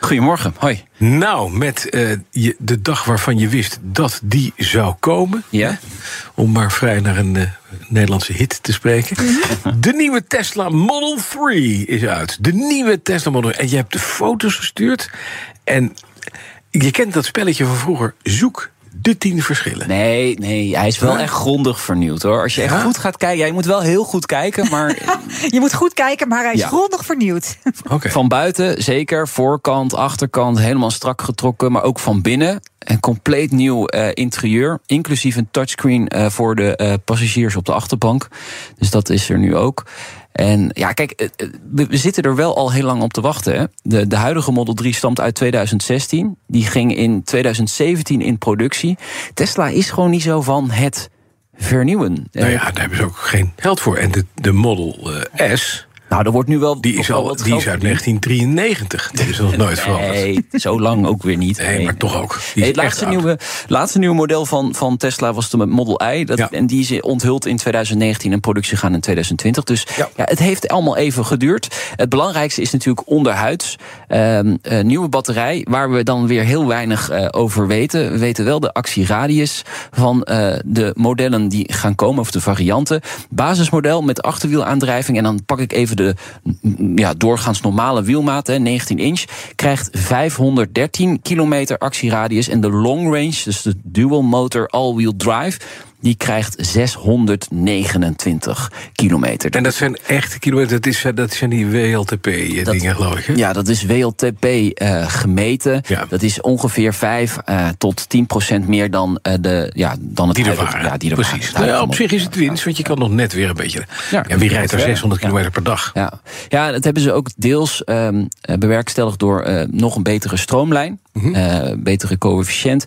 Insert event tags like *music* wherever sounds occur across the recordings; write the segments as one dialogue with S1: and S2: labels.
S1: Goedemorgen, hoi.
S2: Nou, met eh, je, de dag waarvan je wist dat die zou komen.
S1: Ja.
S2: hè, Om maar vrij naar een eh, Nederlandse hit te spreken.
S1: Mhm.
S2: De nieuwe Tesla Model 3 is uit. De nieuwe Tesla Model 3. En je hebt de foto's gestuurd. En je kent dat spelletje van vroeger. Zoek de tien verschillen.
S1: Nee, nee, hij is wel echt grondig vernieuwd hoor. Als je echt
S2: Ja?
S1: goed gaat kijken, ja, je moet wel heel goed kijken, *laughs* maar
S3: Je moet goed kijken, maar hij is
S1: Ja.
S3: grondig vernieuwd. *laughs*
S2: Oké.
S1: van buiten zeker, voorkant, achterkant, helemaal strak getrokken, maar ook van binnen. Een compleet nieuw eh, interieur, inclusief een touchscreen eh, voor de eh, passagiers op de achterbank. Dus dat is er nu ook. En ja, kijk, eh, eh, we we zitten er wel al heel lang op te wachten. Hè? De, de huidige Model 3 stamt uit 2016. Die ging in 2017 in productie. Tesla is gewoon niet zo van het vernieuwen.
S2: Nou
S1: Eh,
S2: ja, daar hebben ze ook geen geld voor. En de, de Model eh, S,
S1: Nou, er wordt nu wel.
S2: die is,
S1: wel
S2: al,
S1: wat
S2: die
S1: geld
S2: is uit
S1: verdiend.
S2: 1993. Die is nog nooit veranderd.
S1: Nee, zo lang ook weer niet.
S2: Nee, maar toch ook. Die is
S1: Nee, het laatste
S2: echt oud.
S1: nieuwe, laatste nieuwe model van, van Tesla was de Model I. Dat,
S2: Ja.
S1: En die is onthuld in 2019 en productie gaan in 2020. Dus
S2: Ja.
S1: ja. het heeft allemaal even geduurd. Het belangrijkste is natuurlijk onderhuids. ehm, een nieuwe batterij, waar we dan weer heel weinig eh, over weten. We weten wel de actieradius van eh, de modellen die gaan komen, of de varianten. Basismodel met achterwielaandrijving. En dan pak ik even de mm, ja, doorgaans normale wielmaat, hè, 19 inch. Krijgt 513 kilometer actieradius. En de long range, dus de dual motor all-wheel drive. Die krijgt 629 kilometer.
S2: En dat zijn echte kilometers, dat, is, eh, dat zijn die WLTP-dingen, eh, geloof ik. hè?
S1: Ja, dat is WLTP eh, gemeten.
S2: Ja.
S1: Dat is ongeveer 5 eh, tot 10 procent meer dan, eh, de, ja, dan het
S2: Die er
S1: huidige-
S2: waren.
S1: Ja, die er
S2: Precies.
S1: waren.
S2: Nou ja, op zich is het winst, want je kan nog net weer een beetje. Ja,
S1: Ja.
S2: wie rijdt er 600
S1: Ja.
S2: kilometer per dag?
S1: Ja. ja, dat hebben ze ook deels ehm, eh, bewerkstelligd door eh, nog een betere stroomlijn, eh, betere coëfficiënt.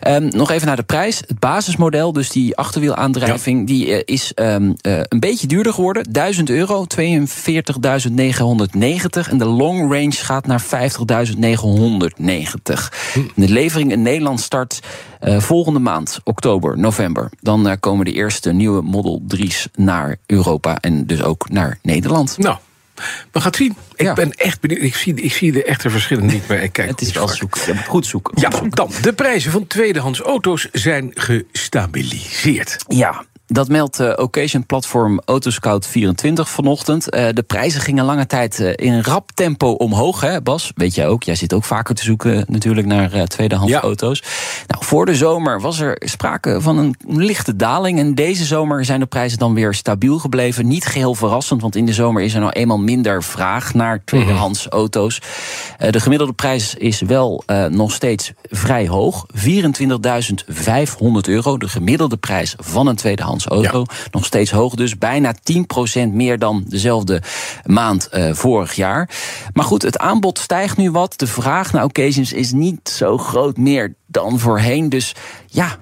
S1: Ehm, nog even naar de prijs. Het basismodel, dus die achterwielaandrijving, die eh, is ehm, eh, een beetje duurder geworden. 1000 euro, 42.990. En de long range gaat naar 50.990. En De levering in Nederland start eh, volgende maand, oktober, november. Dan eh, komen de eerste nieuwe Model 3's naar Europa en dus ook naar Nederland.
S2: Nou, we gaan het zien. Ik
S1: Ja.
S2: ben echt benieuwd. Ik zie, ik zie de echte verschillen niet meer. Ik kijk
S1: Het is
S2: goed
S1: wel
S2: vaak.
S1: zoeken. Je moet goed zoeken.
S2: Ja, dan. De prijzen van tweedehands auto's zijn gestabiliseerd.
S1: Ja, dat meldt eh, occasion-platform Autoscout24 vanochtend. Eh, de prijzen gingen lange tijd eh, in rap tempo omhoog, hè Bas? Weet jij ook, jij zit ook vaker te zoeken natuurlijk naar eh, tweedehands
S2: Ja.
S1: auto's. Nou, voor de zomer was er sprake van een lichte daling. En deze zomer zijn de prijzen dan weer stabiel gebleven. Niet geheel verrassend, want in de zomer is er nou eenmaal minder vraag naar tweedehands auto's. Eh, de gemiddelde prijs is wel eh, nog steeds vrij hoog. 24.500 euro, de gemiddelde prijs van een tweedehands auto. Nog steeds hoog, dus bijna 10% meer dan dezelfde maand eh, vorig jaar. Maar goed, het aanbod stijgt nu wat. De vraag naar occasions is niet zo groot meer dan voorheen. Dus ja,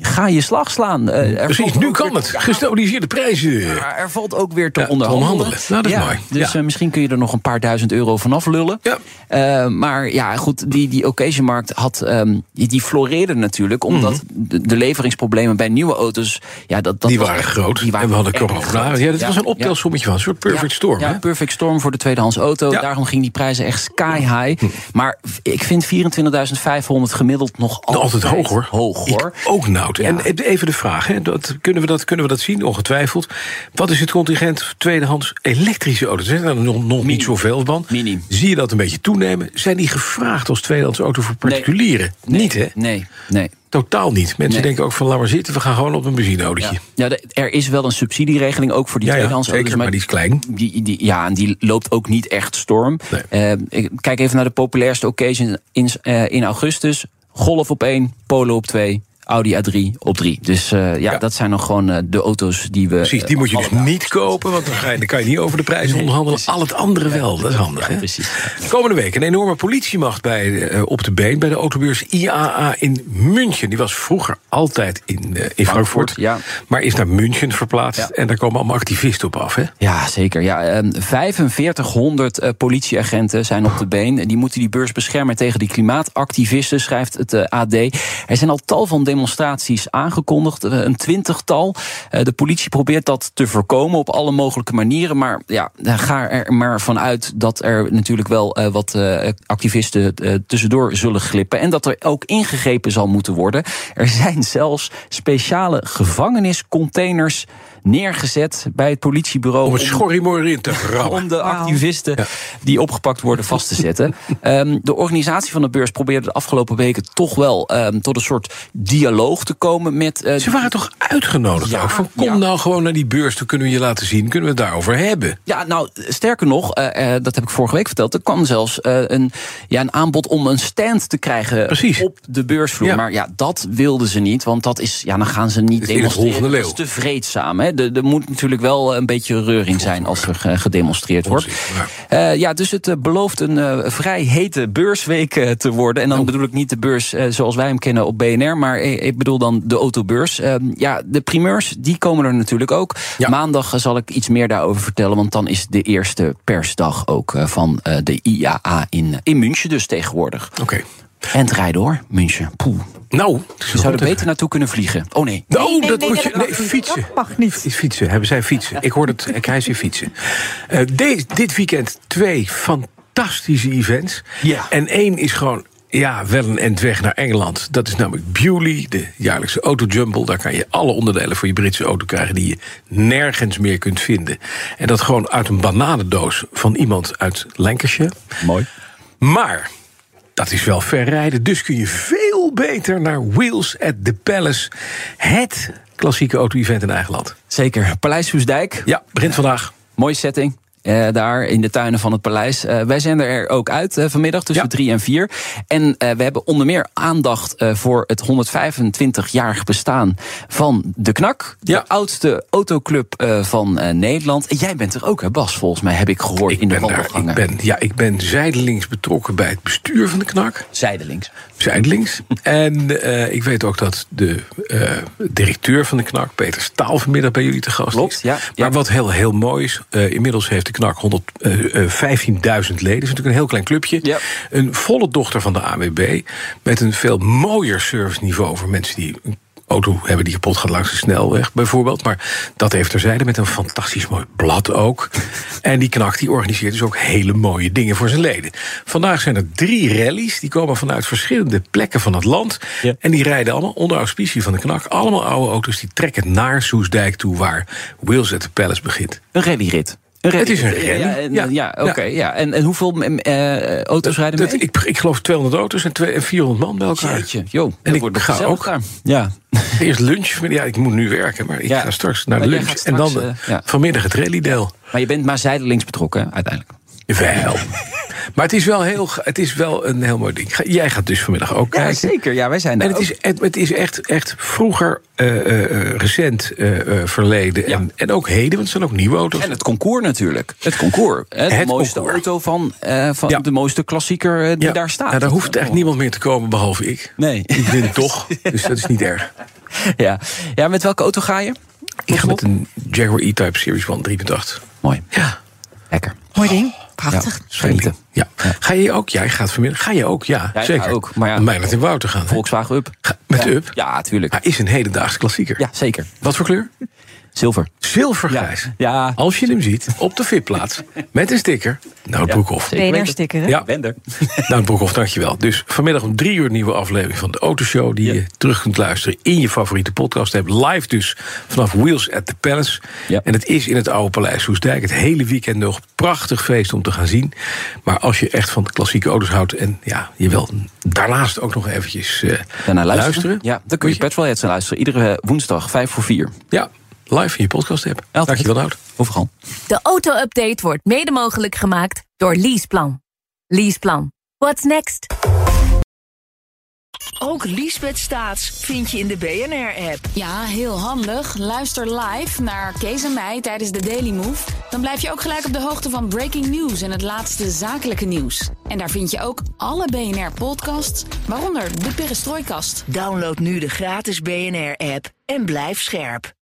S1: ga je slag slaan. Eh, er
S2: Precies,
S1: valt
S2: nu
S1: ook
S2: kan
S1: weer-
S2: het. Gestabiliseerde prijzen.
S1: maar er valt ook weer te
S2: Ja, te
S1: onderhandelen.
S2: onderhandelen. Nou, dat is
S1: Ja,
S2: mooi.
S1: Dus
S2: Ja.
S1: eh, misschien kun je er nog een paar duizend euro vanaf lullen.
S2: Ja.
S1: Eh, maar ja, goed, die, die occasionmarkt had, ehm, die, die floreerde natuurlijk...
S2: Mhm.
S1: omdat de, de leveringsproblemen bij nieuwe auto's... Ja, dat, dat
S2: Die
S1: was
S2: waren
S1: echt-
S2: groot.
S1: die waren
S2: en we hadden
S1: echt
S2: corona.
S1: groot.
S2: Ja, dat was een
S1: ja.
S2: optelsommetje van een soort perfect
S1: Ja,
S2: storm.
S1: Ja,
S2: hè?
S1: perfect storm voor de tweedehands auto.
S2: Ja. Hm.
S1: Daarom ging die prijzen echt sky high. Maar ik vind 24.500 gemiddeld nog altijd,
S2: Nou, altijd hoog hoor.
S1: Hoog hoor.
S2: Ik ook Nout. En e- even de vraag, hè, dat, kunnen, we dat, kunnen we dat zien? Ongetwijfeld. Wat is het contingent tweedehands elektrische auto's? Er zijn er nog, nog niet zoveel van.
S1: Minim.
S2: Zie je dat een beetje toenemen? Zijn die gevraagd als tweedehands auto voor particulieren?
S1: Nee,
S2: niet, hè?
S1: Nee, nee.
S2: Totaal niet. Mensen
S1: Nee.
S2: denken ook van, laat maar zitten, we gaan gewoon op een benzineautootje.
S1: Ja. Ja, de- er is wel een subsidieregeling ook voor die
S2: Ja, ja,
S1: tweedehands
S2: zeker,
S1: auto's,
S2: maar die is klein.
S1: Die, die- ja, en die loopt ook niet echt storm.
S2: Nee.
S1: Eh, ik kijk even naar de populairste occasions in, eh, in augustus. Golf op 1, Polo op 2, Audi A3 op 3. Dus eh, ja,
S2: Ja.
S1: dat zijn dan gewoon eh, de auto's die we.
S2: Precies, die moet je dus niet kopen, want dan, ga je, dan kan je niet over de prijs onderhandelen. Al het andere wel, dat is handig. Hè?
S1: precies.
S2: Komende week een enorme politiemacht bij, eh, op de been bij de autobeurs IAA in München. Die was vroeger altijd in, eh, in Frankfurt,
S1: ja.
S2: maar is naar München verplaatst.
S1: Ja.
S2: En daar komen allemaal activisten op af. Hè?
S1: Ja, zeker. Ja, ehm, 4500 eh, politieagenten zijn op de been. En Die moeten die beurs beschermen tegen die klimaatactivisten, schrijft het eh, AD. Er zijn al tal van demonstraties aangekondigd, eh, een twintigtal. Eh, de politie probeert dat te voorkomen op alle mogelijke manieren. Maar ja, dan ga er maar vanuit dat er natuurlijk wel eh, wat eh, activisten eh, tussendoor zullen glippen. En dat er ook ingegrepen zal moeten worden. Er zijn zelfs speciale gevangeniscontainers neergezet bij het politiebureau.
S2: Om het schorrimorrie
S1: *laughs*
S2: in te rammen.
S1: om de activisten die opgepakt worden vast te
S2: *laughs*
S1: zetten. Ehm, de organisatie van de beurs probeerde de afgelopen weken toch wel ehm, tot een soort dialoog te komen met. eh,
S2: Ze waren toch uitgenodigd
S1: Ja,
S2: ook? Van, kom
S1: ja.
S2: nou gewoon naar die beurs, dan kunnen we je laten zien. Kunnen we het daarover hebben?
S1: Ja, nou, sterker nog, eh, eh, dat heb ik vorige week verteld. Er kwam zelfs eh, een, ja, een aanbod om een stand te krijgen
S2: Precies.
S1: op de beursvloer.
S2: Ja.
S1: Maar ja, dat wilden ze niet. Want dat is, ja, dan gaan ze niet
S2: is in het
S1: demonstreren.
S2: hol van de
S1: Dat is te vreedzaam. Hè? Er, er moet natuurlijk wel een beetje reuring zijn als er eh, gedemonstreerd wordt. Eh, ja, dus het eh, belooft een eh, vrij hete beursweek eh, te worden. En dan bedoel ik niet de beurs eh, zoals wij hem kennen op BNR, maar eh, ik bedoel dan de autobeurs. Eh, ja, de primeurs, die komen er natuurlijk ook.
S2: Ja.
S1: Maandag eh, zal ik iets meer daarover vertellen, want dan is de eerste persdag ook eh, van eh, de IAA in, in München dus tegenwoordig.
S2: Oké.
S1: En het rijden hoor, München. Poeh,
S2: Nou,
S1: we zouden beter naartoe kunnen vliegen. Oh nee.
S2: Oh,
S3: Nee, nee,
S2: dat
S3: nee,
S2: moet
S3: nee,
S2: je.
S3: dat
S2: Nee,
S3: mag niet.
S2: fietsen.
S3: Dat mag niet.
S2: Is fietsen. Hebben zij fietsen? Ik hoorde het. Ik hij zei fietsen. Eh, de- dit weekend twee fantastische events.
S4: Ja.
S2: En één is gewoon. Ja, wel een end weg naar Engeland. Dat is namelijk Bewley, de jaarlijkse autojumble. Daar kan je alle onderdelen voor je Britse auto krijgen... die je nergens meer kunt vinden. En dat gewoon uit een bananendoos van iemand uit Lancashire.
S1: Mooi.
S2: Maar dat is wel ver rijden. Dus kun je veel beter naar Wheels at the Palace. Het klassieke auto-event in eigen land.
S1: Zeker. Paleis Hoesdijk,
S2: Ja, begint vandaag.
S1: Mooie setting. eh, daar in de tuinen van het paleis. Eh, wij zijn er ook uit eh, vanmiddag tussen
S2: Ja.
S1: drie en vier. En eh, we hebben onder meer aandacht eh, voor het 125-jarig bestaan van de Knak.
S2: Ja.
S1: De oudste autoclub eh, van eh, Nederland. En jij bent er ook, hè, Bas? Volgens mij heb ik gehoord in de
S2: ben daar,
S1: wandelgangen.
S2: ik, ben, ja, ik ben zijdelings betrokken bij het bestuur van de knak.
S1: Zijdelings. *laughs*
S2: Zijdelings. en eh, ik weet ook dat de eh, directeur van de knak, Peter Staal, vanmiddag bij jullie te gast
S1: Klopt,
S2: is.
S1: ja,
S2: maar
S1: ja.
S2: wat heel, heel mooi is, eh, inmiddels heeft de knak 100, eh, eh, 15.000 leden. Dat is natuurlijk een heel klein clubje.
S1: Ja.
S2: Een volle dochter van de AWB. Met een veel mooier serviceniveau voor mensen die een auto hebben die kapot gaat langs de snelweg, bijvoorbeeld. Maar dat heeft terzijde met een fantastisch mooi blad ook. En die knak die organiseert dus ook hele mooie dingen voor zijn leden. Vandaag zijn er drie rallies. Die komen vanuit verschillende plekken van het land. En die rijden allemaal onder auspicie van de knak. Allemaal oude auto's die trekken naar Soesdijk toe... waar Wheels at the Palace begint.
S1: Een rallyrit. Een
S2: Het is een rally,
S1: Ja, en- eh,
S2: ja.
S1: ja. oké. ja. En, en hoeveel eh, auto's rijden
S2: Dat,
S1: mee?
S2: ik, ik geloof 200 auto's en twee- en 400 man bij elkaar.
S1: Jeetje, joh, dat
S2: ik
S1: wordt
S2: ga
S1: gezellig
S2: ook.
S1: daar. Ja. *laughs*
S2: Eerst lunch. maar Ja, ik moet nu werken, maar ik
S1: Ja.
S2: ga straks naar de
S1: Maar jij
S2: lunch.
S1: gaat
S2: en dan
S1: straks,
S2: eh,
S1: eh, ja.
S2: vanmiddag het rallydeel.
S1: Maar je bent maar zijdelings betrokken, hè, uiteindelijk. *laughs*
S2: Wel. maar het is wel, heel, ge- het is wel een heel mooi ding. Ga- Jij gaat dus vanmiddag ook
S1: Ja,
S2: kijken.
S1: zeker. Ja, wij zijn daar
S2: En het
S1: ook.
S2: is, het, het is echt, echt vroeger, eh, eh, eh, recent, eh, eh, verleden en, en ook heden, want het zijn ook nieuwe auto's.
S1: En het concours natuurlijk. *laughs* Het concours. Hè, de
S2: Het
S1: mooiste
S2: concours.
S1: auto van, eh, van
S2: Ja.
S1: de mooiste klassieker eh, die
S2: Ja.
S1: daar staat.
S2: Nou, daar hoeft echt niemand meer te komen behalve ik.
S1: Nee.
S2: Ik win toch, dus dat is niet
S1: *laughs*
S2: erg.
S1: Ja. ja, met welke auto ga je?
S2: Ik ga met een Jaguar E-Type Series 1 3.8.
S1: Mooi.
S2: Ja.
S1: Lekker.
S3: Mooi ding.
S1: Ja,
S3: Prachtig.
S1: Genieten.
S2: Ja. Ga je ook? Jij gaat vanmiddag. Ga je ook? Ja,
S1: Ja, ik ga
S2: zeker.
S1: ook, maar ja.
S2: Om mij naar in Wouter gaan. hè?
S1: Volkswagen Up.
S2: Ga- Met de Up?
S1: Ja, tuurlijk.
S2: Hij is een hedendaagse klassieker.
S1: Ja, zeker.
S2: Wat voor kleur?
S1: Zilver.
S2: Zilvergrijs.
S1: Ja.
S2: Als je hem ziet op de VIP-plaats met een sticker. Nou, Broekhoff.
S1: zeker.
S3: BNR stickeren.
S2: Ja,
S1: Ben er.
S2: *laughs* nou Broekhoff, dankjewel. Dus vanmiddag om drie uur een nieuwe aflevering van de Autoshow... die je terug kunt luisteren in je favoriete podcast. Heb live dus vanaf Wheels at the Palace.
S1: Ja.
S2: En het is in het oude Paleis Hoesdijk. Het hele weekend nog prachtig feest om te gaan zien. Maar als je echt van de klassieke auto's houdt... en ja, je wil daarnaast ook nog eventjes eh,
S1: Daarna luisteren.
S2: luisteren.
S1: Ja, dan kun je Petrolheads naar luisteren. Iedere eh, woensdag, vijf voor vier.
S2: Ja, live in je podcast app.
S1: Altijd.
S2: Dankjewel, Nout.
S1: Overal.
S5: De auto-update wordt mede mogelijk gemaakt door Leaseplan. Leaseplan. What's next?
S6: Ook Liesbeth Staats vind je in de BNR-app.
S7: Ja, heel handig. Luister live naar Kees en mij tijdens de Daily Move. Dan blijf je ook gelijk op de hoogte van breaking news en het laatste zakelijke nieuws. En daar vind je ook alle BNR-podcasts, waaronder de Perestrooikast.
S6: Download nu de gratis BNR-app en blijf scherp.